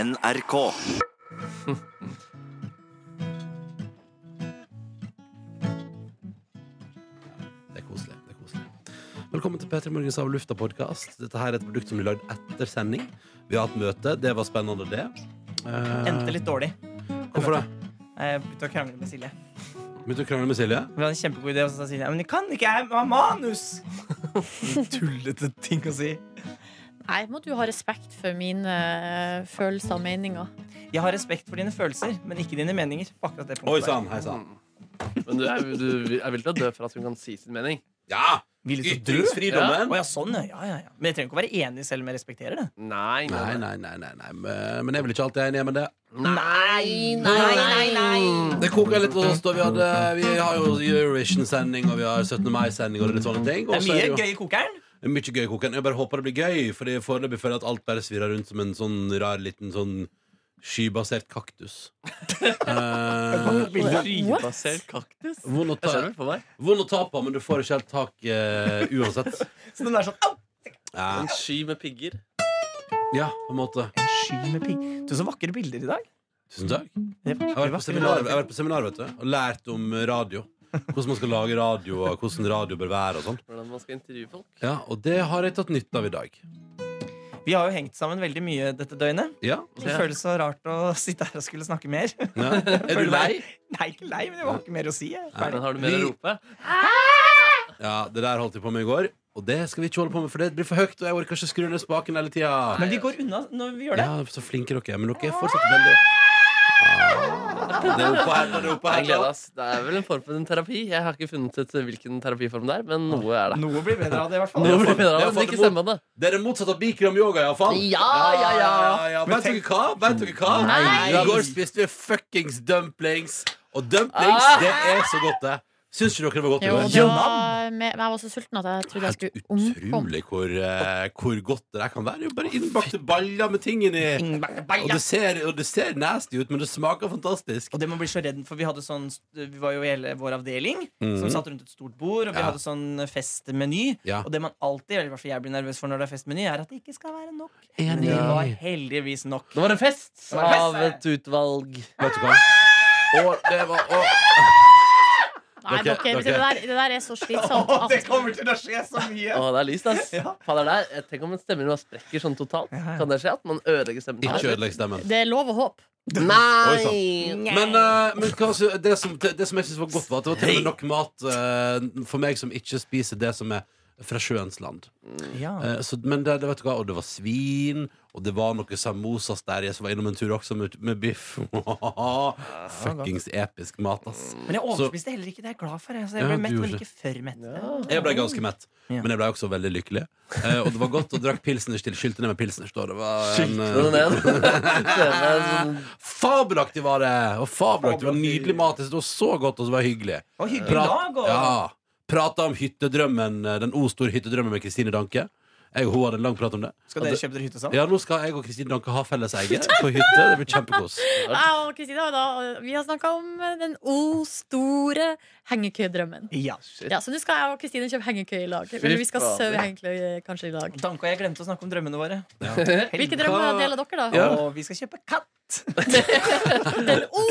NRK. Det er koselig. det er koselig Velkommen til P3 Morgens Av lufta podcast Dette her er et produkt som blir lagd etter sending. Vi har hatt møte. Det var spennende, det. Eh, Endte litt dårlig. Eh, Hvorfor det? Jeg begynte å krangle med Silje. Begynte å krangle med Silje? Vi hadde en kjempegod idé, og så sa Silje Men jeg kan ikke, jeg har manus! Tullete ting å si. Nei, må du ha respekt for mine eh, følelser og meninger. Jeg har respekt for dine følelser, men ikke dine meninger. På akkurat det Oi punktet der. sann, hei sann. Men du er, du er villig til å dø for at hun kan si sin mening? Ja! Vil du så dø? Ytringsfridommen. Å ja, sånn, ja. ja, ja. Men jeg trenger ikke å være enig selv om jeg respekterer det. Nei, Nei, nei, nei, nei, nei. men- Men jeg er vel ikke alltid enig med det. Nei, Det koker litt hos oss. da Vi, hadde, vi har jo Eurovision-sending, og vi har 17. mai-sending, og det er litt sånne ting. Det Og er så er mye det jo- gøy i kokeren. Det er Mye gøy koken. Jeg bare håper det blir gøy, for foreløpig føler jeg at alt bare svirrer rundt som en sånn rar liten sånn skybasert kaktus. Eh, Skybasert kaktus? Vond å, Jeg ta, skjønner på deg. vond å ta på, men du får ikke helt tak eh, uansett. Så den er sånn au! Ja. En sky med pigger. ja, på en måte. En sky med pigg. Du, så vakre bilder i dag. Tusen takk. Jeg Det har er vært på vakre, vakre seminar, jeg bilder. har vært på seminar vet du, og lært om radio. Hvordan man skal lage radio, og hvordan radio bør være. og sånn Hvordan man skal intervjue folk. Ja, Og det har jeg tatt nytte av i dag. Vi har jo hengt sammen veldig mye dette døgnet. Ja, Det føles så rart å sitte her og skulle snakke mer. ja. Er du lei? Nei, ikke lei, men det var ikke mer å si. Jeg. Men har du mer å Vi- rope? Ja, Det der holdt jeg på med i går, og det skal vi ikke holde på med, for det blir for høyt. Og jeg orker ikke skru ned spaken hele tida. Men vi går unna når vi gjør det. Ja, så flinke dere er, men dere er fortsatt veldig Det er oppå her, det er oppå Jeg her. gleder oss. Det er vel en form for en terapi. Jeg har ikke funnet ut eh, hvilken terapiform det er, men noe er det. Noe blir bedre av det, i hvert fall. Noe blir bedre Jeg av har det, fått men ikke det mot- stemmer det. Det er det motsatte av bikram yoga, iallfall. Ja, ja, ja, ja. Vet dere hva? Vet dere hva? Nei. I går spiste vi fuckings dumplings. Og dumplings, Ah. det er så godt, det. Syns ikke dere det var godt i Jo, går? det var, men jeg var så sulten at jeg trodde jeg Helt skulle omkomme. utrolig hvor, eh, hvor godt det der kan være. Det er jo Bare innbakte baller med ting inni. Og det, ser, og det ser nasty ut, men det smaker fantastisk. Og det man blir så redd for Vi hadde sånn Vi var jo i hele vår avdeling, Mhm. som satt rundt et stort bord, og vi Ja. hadde sånn festmeny. Ja. Og det man alltid, eller i hvert fall jeg blir nervøs for når det er festmeny, er at det ikke skal være nok. Men Enig. det var heldigvis nok. Det var en fest Det var en fest. av et utvalg. Vet du hva? Og det var og, Nei, Dere- dere, det, der, det der er så slitsomt. Å, At, kommer til å skje så mye! Å, det er lyst, ass. Ja. Fader, det er- Tenk om stemmen bare sprekker sånn totalt. Ja, ja. Kan det skje at man ødelegger stemmen? Ikke ødelegg stemmen. det er lov å håpe. sånn. Oi, Men, eh, men hva, så, det, som, det, det som jeg synes var godt, var at det var til og med nok mat eh, for meg som ikke spiser det som er fra sjøens land. Ja. Eh, så, men det, det, vet du hva, og det var svin, og det var noe samosas der jeg som var innom en tur også med, med biff. Fuckings episk mat, ass. Men jeg overspiste heller ikke. Det er jeg glad for. jeg. Så jeg Ja, ble du mett, gjorde men det. ikke før mett. Jeg ble ganske mett, Ja. men jeg ble også veldig lykkelig. Eh, og det var godt, og drakk pilsners til. Skylte ned med pilsners. da. Det var en, eh, Sånn ned. Sånn- Fabelaktig var det! Og fabelaktig, Det var Nydelig mat. Det var så godt, og så var det hyggelig. Og hyggelig Prat, dag. Og... ja, prata om hyttedrømmen eh, Den ostor hyttedrømmen med Kristine Danke. Jeg og hun hadde en lang prat om det. Skal dere kjøpe dere hytte sammen? Ja, Nå skal jeg og Kristine Danke ha felles eie på hytte. Det blir kjempekos. Jeg og Kristina da, vi har snakka om eh, den o store hengekøydrømmen. Ja. Ja, så nå skal jeg og Kristine kjøpe hengekøye i lag. Eller vi skal faen. søve hengekøye kanskje i lag. Danke og jeg glemte å snakke om drømmene våre. Hvilke drømmer deler dere, da? Og vi skal kjøpe katt! Den o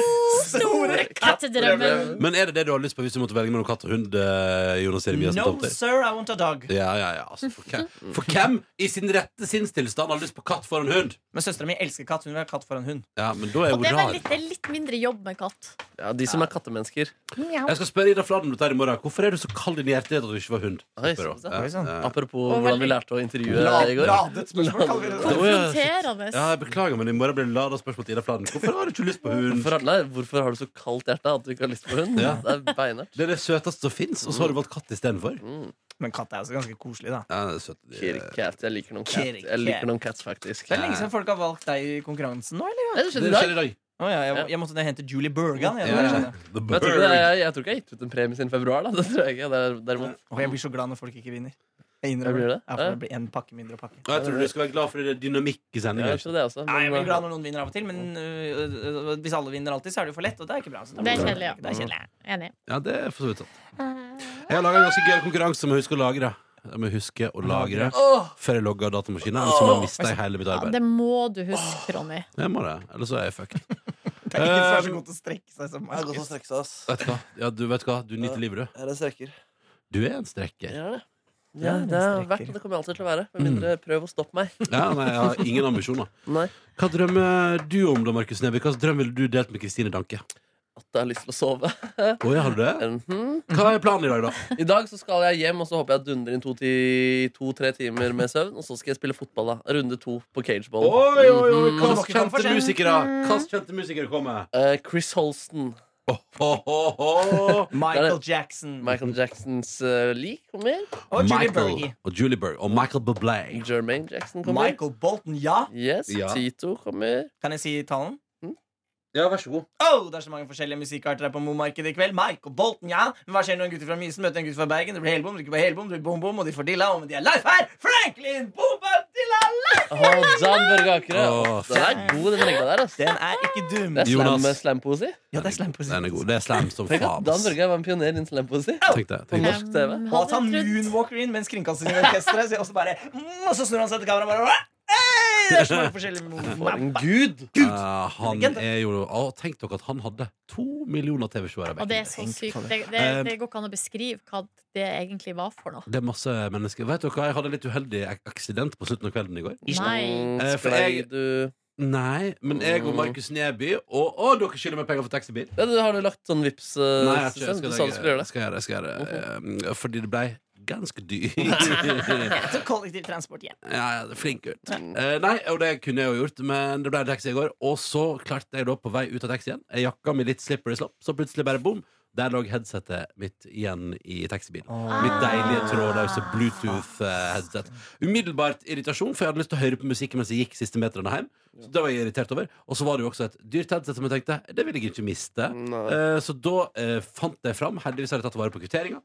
store kattedrømmen. Men er det det du har lyst på hvis du måtte velge mellom katt og hund? eh, Jonas Jeremias No, sir, I want a dog. Ja, ja, ja. Altså, for, hvem, for hvem i sin rette sinnstilstand har lyst på katt foran hund? Men søstera mi elsker katt. Hun vil ha katt foran hund. Ja, men da er Og hun det er, vel rar. litt, det er litt mindre jobb med katt. Ja, de som er kattemennesker. Jeg skal spørre Ida Fladen om dette her i morgen. Hvorfor er du så kald i hjertet ditt at du ikke var hund? Oi, Spør hun. Eh, sånn, Ja, Oi, sånn. ja. Apropos Og hvordan vi veldig- lærte å intervjue deg i går. spørsmål kaller vi det. Det var jo- Konfronterende. Ja, jeg beklager, men i morgen blir det lada spørsmål til Ida Fladen. Hvorfor har du ikke lyst på hund? Hvorfor, nei, hvorfor har du så kaldt hjerte at du ikke har lyst på hund? Ja. Det er beinhardt. Det er det søteste som fins, og så har du valgt katt istedenfor. Men katt er også ganske koselig, da. Ja, det er søtt. Kitty Cat. Jeg liker noen cat. Kitty Jeg liker cat. noen cats, faktisk. Det er lenge siden folk har valgt deg i konkurransen nå, eller? Nei, det Det skjedde i dag. skjer i dag. Å ja, jeg, jeg måtte ned og hente Julie Bergan. Jeg, Ja, nå, ja. skjønner jeg. The Men jeg tror, ikke det, bird. jeg, jeg tror ikke jeg har gitt ut en premie siden februar. Da. Det tror jeg ikke. Det er, derimot. Og jeg blir så glad når folk ikke vinner. Jeg Jeg innrømmer blir det. det? Ja, for Ja. det blir en pakke mindre å pakke. Og jeg tror du skal være glad for det er dynamikk i Ja, sendinga. jeg tror det også. Nei, jeg blir Men, eh, glad når noen vinner av og til, men øh, øh, hvis alle vinner alltid, så er det jo for lett, og det er ikke bra. Så da Det er blir kjedelig, ja. Det er kjedelig. Enig. Ja, det er for så vidt sant. Jeg har laga en ganske gøy konkurranse som jeg husker å lagre. Jeg må huske å lagre Åh, før jeg logger datamaskinen. Ellers så må jeg miste jeg hele mitt Ja, arbeid. det må du huske, Ronny. Jeg må det, ellers så er jeg fucked. Det er ingen som er så god til å strekke seg som jeg har gått og Markus. strekket seg, ass. Vet du hva? Ja, du vet hva? Du nyter livet, du. Jeg er en strekker. Du er en strekker. Jeg er det. Du Ja, er en det har jeg strekker. vært, og det kommer jeg alltid til å være. Med mindre prøv å stoppe meg. Ja, nei, jeg har ingen ambisjoner. Nei. Hva drømmer du om, da, Markus Neby? Hvilken drøm ville du delt med Kristine Danke? At jeg har lyst til å sove. Oi, har du det? Mhm. Hva er planen i dag, da? I dag så skal jeg hjem, og så håper jeg dundrer inn to-tre timer med søvn. Og så skal jeg spille fotball, da. Runde to på cageball. Oi, oi, oi, Mhm. hva Dere kjente kan forskjell. musikere Hva kjente musikere kommer? Eh, Chris Holsten. Oh, oh, oh, oh. Michael Jackson. Michael Jacksons uh, lik kommer. Og Julie Michael Berge. og Julie Berg og Michael Bublé. Jermaine Jackson kommer. Michael Bolton, ja. Yes, Ja. Tito kommer. Kan jeg si talen? Ja, vær så god. Oh, det er så mange forskjellige musikkarter her på Mo-markedet i kveld. Michael Bolton, ja. Men hva skjer når en gutt fra Mysen møter en gutt fra Bergen? Det blir helbom, det blir ikke bare helbom, det blir bom-bom, og de får dilla, og de er live her! Franklin Bomba-dilla! Og Dan Børge Akerø. Åh, den er god, den regla der. ass. Det Den er ikke dum. er slam, Jonas. slampoesi. Ja, det er slemt på Den er god. Det er slam som Tenk faen. at Dan Børge var en pioner innen slampoesi. Tenk det. Tenk det. norsk TV. Hvem Og at hadde han trodd? moonwalker inn mens kringkastingsorkesteret sier også bare mm, Og så snur han seg til kameraet og bare «Hey!» Det er så mange forskjellige For en mo- gud! Eh, han Legende. er jo Å, Tenk dere at han hadde to millioner TV-seere. Og det er Det. så Tenk på sykt. det. Det, det, Eh, det går ikke an å beskrive hva det egentlig var for noe. det er masse mennesker. Vet dere hva, Jeg hadde en litt uheldig ak- aksident på slutten av kvelden i går. Nei. Mm, Eh, for sklei jeg- du Nei, men jeg og Markus Neby og Å, dere skylder meg penger for taxibil. ja, du, Har du lagt sånn vips eh, Nei, jeg, system? skal, Du jeg, sa du skulle gjøre det. skal gjøre det. Skal gjøre det. Eh, Fordi det blei ganske dyrt. Så kollektivtransport igjen. Ja, ja, flink gutt. Eh, nei, og det kunne jeg jo gjort, men det ble en taxi i går. Og så klarte jeg da på vei ut av taxien. Jeg jakka med litt slippery slopp, så plutselig bare bom. Der lå headsetet mitt igjen i taxibilen. Ah. Mitt deilige trådløse Bluetooth-headset. Umiddelbart irritasjon, for jeg hadde lyst til å høre på musikk mens jeg gikk siste meterne hjem. Så det var jeg irritert over. Og så var det jo også et dyrt headset som jeg tenkte det vil jeg ikke miste. Nei. Eh, Så da eh, fant jeg fram Heldigvis har jeg tatt vare på kvitteringa.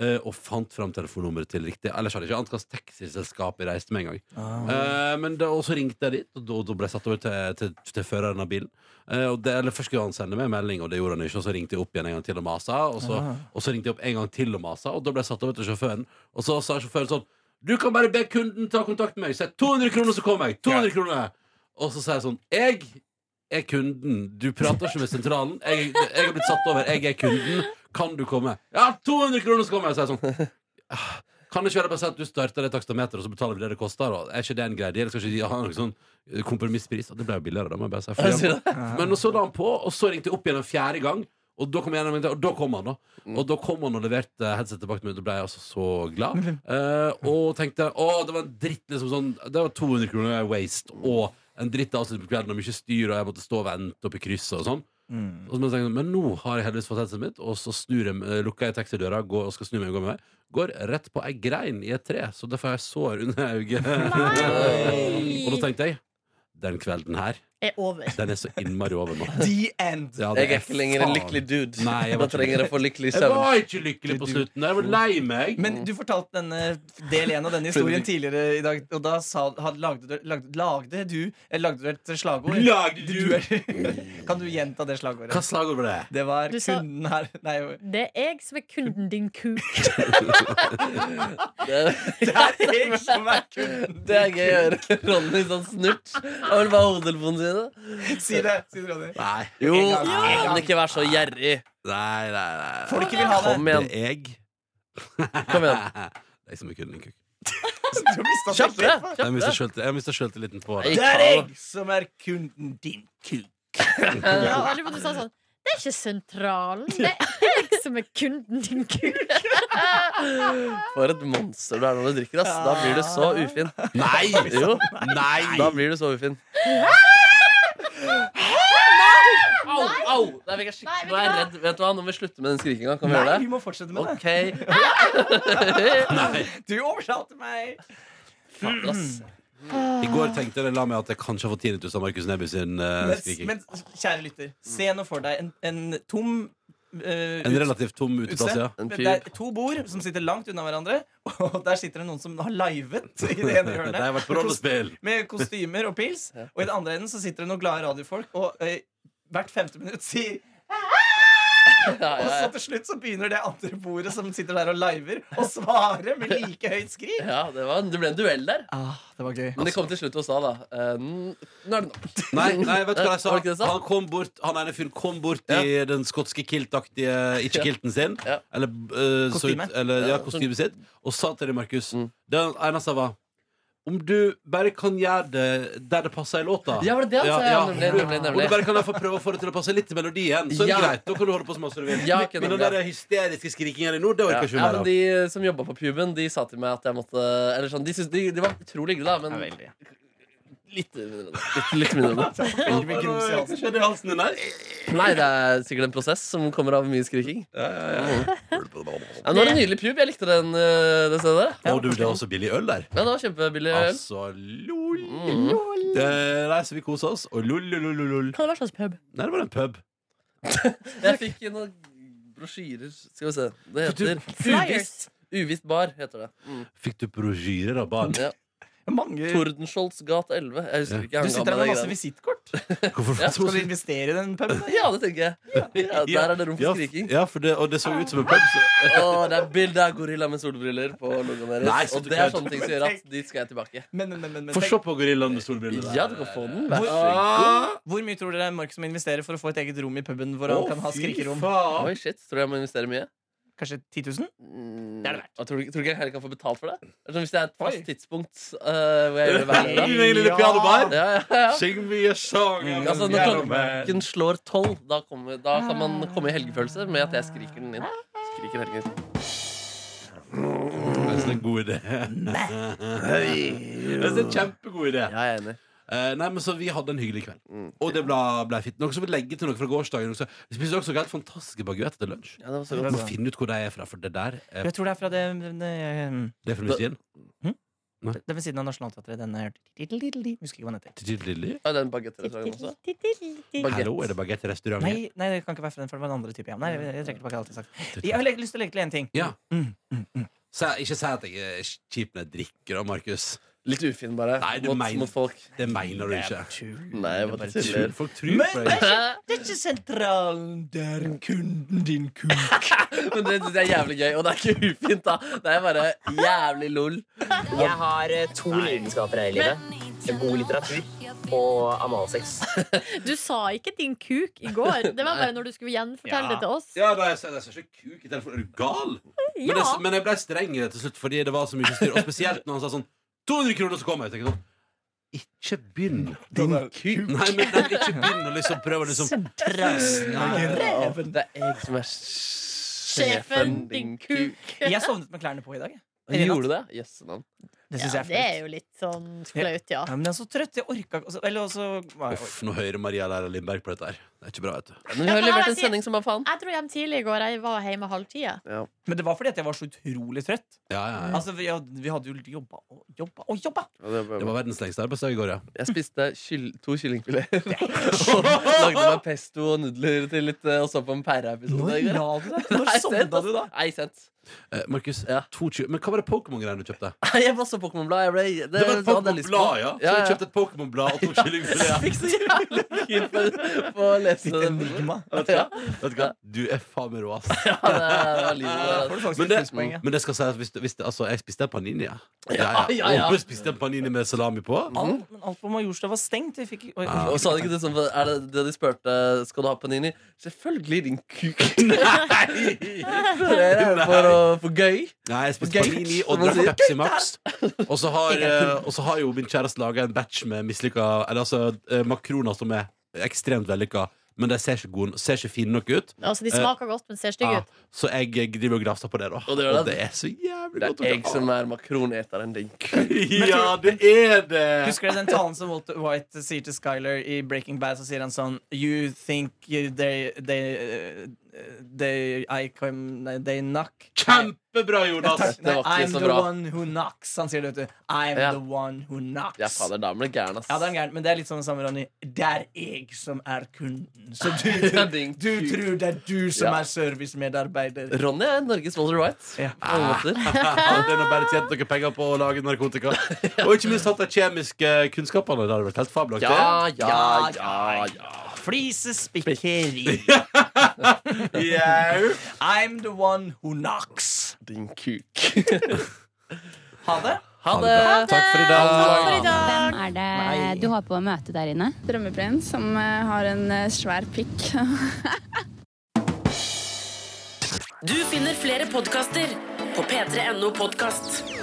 eh, og fant fram telefonnummeret til riktig. Ellers hadde jeg ikke ant hvilket taxiselskap jeg reiste med en gang. Eh, men da, og så ringte jeg dit, og da, da ble jeg satt over til, til, til føreren av bilen. Eh, og det, eller Først skulle han sende meg en melding, og det gjorde han ikke. Og så ringte jeg opp igjen en gang til og masa, og så, og så ringte jeg opp en gang til og masa, og da ble jeg satt over til sjåføren. Og så sa sjåføren sånn Du kan bare be kunden ta kontakt med meg. Så jeg 200 kroner, så kommer jeg. 200 kroner Og så sa jeg sånn Jeg er kunden. Du prater ikke med sentralen. Jeg, jeg har blitt satt over. Jeg er kunden. Kan du komme? Ja, 200 kroner, så kommer jeg. Så er jeg sånn «Ah, Kan det ikke være bare sånn at du starter det takstameteret, og så betaler vi det det koster? Og er ikke det en greie? Jeg skal ikke ha noen sånn eh, kompromisspris. Og det ble jo billigere, da, må jeg bare si. Jeg Fordi sier det. han- Men og så la han på, og så ringte jeg opp igjen en fjerde gang. Og da kom, jeg gjennom, en til, og da kom han, da. Og da kom han og leverte headsetet tilbake til meg. og Da ble jeg altså så glad. Eh, og tenkte å, det var en dritt liksom sånn Det var 200 kroner waste og en dritt avslutt på kvelden og mye styr, og jeg måtte stå og vente oppe i krysset og sånn. Mm. Og så må jeg tenke, men nå har jeg heldigvis fått headsetet mitt, og så snur jeg, eh, lukker jeg taxidøra går, og skal snu meg og gå med meg. Går rett på ei grein i et tre, så derfor har jeg sår under øyet. Nei! og da tenkte jeg den kvelden her, Er over. den er så innmari over nå. The end. Ja, det Jeg er ikke lenger en faen- lykkelig dude. Nei, jeg var Da ikke trenger jeg å få lykkelig Jeg søvn. var ikke lykkelig på slutten. Jeg var lei meg. Men du fortalte denne del én av denne historien tidligere i dag, og da sa, had, lagde, du, lagde, lagde du eller Lagde du et slagord? Lagde Du er- kan du gjenta det slagordet? Hva slagord var det? Det var Du sa- kunden her Nei, jo. Det er jeg som er kunden din, kuk. Det, det er jeg som er kunden. det er gøy å høre Ronny sånn snurt. Han vil bare ha hodetelefonen sin. Si det, si det, Ronny. Nei, Jo, En gang, en gang. men ikke vær så gjerrig. nei, nei. nei. Folk vil ha det. Kom igjen. Det er jeg. Kom igjen. Jeg som er kunden din, kuk. Du mistet Kjapp det! selvtillit. Jeg Kjapp mista det. sjøltillit- jeg mista sjøltilliten på det. Nei. Det er jeg som er kunden din, kuk. Ja, og jeg lurer på om du sa sånn Det er ikke sentralen. Det er jeg som er kunden din, kuk. For et monster du er når du drikker, ass. Da blir du så ufin. Nei! Jo, Nei! da blir du så ufin. Au, au! Nei, vi er Nei, skikkelig- vet du Nå er jeg hva? redd. Vet du hva, nå må vi slutte med den skrikinga. Kan vi Nei, gjøre vi det? må fortsette med OK. det. Du overtalte meg. Fader, ass. I går tenkte jeg la meg at jeg kanskje har fått tinnitus av Markus Neby sin eh, Men, skriking. men kjære lytter, se nå for deg en, en tom eh, En ut- relativt tom uteplass, ja. En Men fyr. Det er to bord som sitter langt unna hverandre, og der sitter det noen som har livet i det ene Jeg har hjørnet. vært på rollespill. Med kostymer og pils. Og i den andre enden så sitter det noen glade radiofolk og eh, hvert femte minutt sier Ja, Og ja, så ja. til slutt så begynner det andre bordet som sitter der og liver, å svare med like høyt skrik. ja det, var, det ble en duell der. Ah, det var gøy. Men de kom til slutt og sa da eh, "N- Nå er det nok. Nei, nei, vet du hva Var det jeg ikke sa? det jeg sa? Han kom bort, han ene fyren kom bort i den skotske kiltaktige ikke-kilten sin. Ja. Eller, eh, så ut- Kostyme. eller ja, Ja, sånn. kostymet sitt. Og sa til deg, Markus Mm. Det eneste var Om du bare kan gjøre det der det passer i låta. Ja, var det det han Ja, sa? Ja, ja. nemlig, nemlig, Om du nemlig. bare kan jeg få prøve å få det til å passe litt til melodien, så er det Ja. greit. Da kan du holde på så masse du vil. Ja, ikke Men den nemlig. der hysteriske skrikinga di nå, det Ja, orker jeg ikke ja, mer men av. de eh, som jobba på puben, de sa til meg at jeg måtte Eller sånn, de, syntes- de, de var utrolig hyggelige, da, Ja, men veldig. litt mindre. enn det. Litt, litt mindre enn det. Veldig mye altså. grums i halsen. skjedde i halsen din der? Nei, det er sikkert en prosess som kommer av mye skriking. Ja, nå er det en nydelig pub. Jeg likte den, eh, det stedet der. Og du, det er også billig øl der. Ja, det var kjempebillig øl. Altså, lol, lol. Mm. Det, nei, så vi koser oss. Og lol, lol, lol, lol. Hva var slags pub? Nei, det var en pub. Jeg fikk noen brosjyrer. Skal vi se. Det heter Flyers. Uvisst. Uvisst bar, heter det. Mm. Fikk du brosjyrer av barn? Ja. Mange... Tordenskiolds gat 11. Jeg husker ikke. Du jeg hang av sitter der meg med de masse greiene. visittkort. Hvorfor Ja, Skal du investere i den puben? Ja, det tenker jeg. Ja, der er det rom for skriking. Ja, for det, og det så ut som en pub. Så. Å, det er bilde av gorilla med solbriller på logoen deres. Nei, så og du det er kødd. sånne ting som gjør at dit skal jeg tilbake. Men, men, men, men, Få tenk- se på gorillaen med solbriller. Ja, du kan få den. Vær så god. Ah, Hvor mye tror dere Markus må investere for å få et eget rom i puben hvor han å, kan ha fy skrikerom? faen. Oi, shit. Tror du jeg må investere mye? Kanskje 10 000? Mm. Det er det verdt. Og Tror du, ikke- tror du ikke jeg heller kan få betalt for det? Det er Som hvis det er et fast Oi. tidspunkt eh, hvor jeg gjør det hver Du dag. er en lille pianobar. Ja, ja, ja. Syng mye sanger. Mm, altså, når klokken slår tolv, da, kommer, da kan man komme i helgefølelse med at jeg skriker den inn. Skriker helgen. Det er en god idé. Det er en kjempegod idé. Ja, jeg er enig. Eh, nei, men Så vi hadde en hyggelig kveld. Mm. Og det ble, ble fint. Noe som vil legge til noe fra gårsdagen også. Vi spiste også helt fantastiske baguetter til lunsj. Ja, det var så Du godt. må finne ut hvor de er fra, for det der eh, Jeg tror det er fra det eh, Det Det er fra Musien. er ved siden av Nationaltheatret. Den er Husker ikke hva den heter. Og den bagettrestauranten også. Baguette. Hallo, er det baguetterestaurant? Nei, nei, det kan ikke være fra den, for det var den andre type. Ja. Nei, jeg, jeg trekker tilbake alt jeg har sagt. Jeg har her? le- lyst til å legge til én ting. Ja. Mm, mm, mm. Sa- Ikke si at jeg er kjip når jeg drikker, da, Markus. Litt ufin, bare. Nei, du mot, mener- mot folk. Det mener du Det er ikke. bare tull. Nei, jeg Det er bare bare tuller. Tror- Folk tror på deg. Det er ikke sentralen der kunden din kuk Men det syns jeg er jævlig gøy, og det er ikke ufint, da. Det er bare jævlig lol. Jeg har eh, to lidenskaper her i livet. God litteratur og analsex. Du sa ikke din kuk i går. Det var bare når du skulle gjenfortelle det til oss. Ja, da, jeg sa jeg sa ikke kuk i telefonen. Er du gal? Men, det, Ja. men jeg ble streng til slutt fordi det var så mye styr. Og spesielt når han sa sånn 200 kroner, så kom jeg. jeg tenkte sånn, ikke begynn. Din kuk Nei, men nei, ikke begynn å liksom prøve å liksom Reven. Det er jeg som er sjefen, Sjefen, din kuk. kuk. Jeg sovnet med klærne på i dag. jeg. Gjorde du det? Jøss navn. Det syns Ja, jeg det er er flaut. jo litt sånn flaut, ja. Ja, men jeg er så trøtt. Jeg orka ikke også- Eller også var jeg- Uff, nå hører Maria Læra Lindberg på dette her. Det er ikke bra, vet du. Men vi har jo levert en sending som bare faen. Jeg dro hjem tidlig i går. Jeg var hjemme halv ti. jeg. Men det var fordi at jeg var så utrolig trøtt. Ja, ja, ja. Altså, Vi hadde, vi hadde jo jobba og jobba og jobba! Det var verdens lengste arbeidsdag i går, ja. Jeg spiste kyll to kyllingfileter. Og lagde meg pesto og nudler til litt, eh, og så på en pæreepisode. Når i går. la du deg? Når sovna du da? Nei, sent. Eh, Markus, Ja. to tjue- Men hva var det Pokémon-greiene du kjøpte? Nei, Jeg var så Pokémon-blad. Jeg ble det, Det var et hadde jeg lyst på. Pokémon-blad, ja. Så Ja, du ja. kjøpte et Pokémon-blad og to kyllingfileter. Jeg fikk så jævlig keen på, på å lese Ditt den. enigma. Ja, Vet du hva? Du er faen meg rå, ass. ja, det var livet. altså. Får du faktisk Men det- plusspoeng, ja. Men det skal sies, hvis, du- hvis, det- altså, jeg spiste en panini, ja. Ja, ja, ja. Og spiste en panini med salami på. Mm. Alt, men alt på Majorstua var stengt. Vi fikk, oi, Ah. Og sa de ikke det sånn, er det det de spurte Skal du ha panini? Selvfølgelig, din kuk Prøver jeg for, å, for gøy Nei, jeg spiste Gøy, panini og som man drakk Pepsi Max. Og så har, eh, og så har jo min kjæreste laga en batch med mislykka Eller altså eh, makroner som er ekstremt vellykka, men de ser ikke, gode, ser ikke fine nok ut. Altså, De Eh, smaker godt, men ser stygge Ja, ut. så jeg eh, driver og grafser på det, da. Og det gjør Og det. det er så jævlig Det godt. er jeg som er makroneteren din kuk Ja, det er det! Husker dere den talen som Walter White sier til Skyler i Breaking Bad? Så sier han sånn You think you- they They, they, I come, nei, they knock Kjempebra, Jonas! Det var ikke I'm så the bra. one who knocks. Han sier det, vet du. I'm Ja. the one who knocks. Ja, fader, da ble gæren ass Ja, det er gærent, men det er litt sånn samme Ronny. Det er jeg som er kunden. Så du, Ja, din du kuk. tror det er du som Ja. er servicemedarbeider. Ronny er Norges Walter White Ja. På alle måter Hadde nå bare tjent noen penger på å lage narkotika. Og ikke minst hatt de kjemiske kunnskapene. Det hadde vært helt fabelaktig. Ja, ja, ja, ja Flisespikkeri. Jau. I'm the one who knocks. Din kuk. Ha det. Ha det! Takk for i dag. Takk for i dag. Hvem er det Eh, du har på møte der inne? Drømmeprins som eh, har en eh, svær pikk. Du finner flere podkaster på p3.no podkast.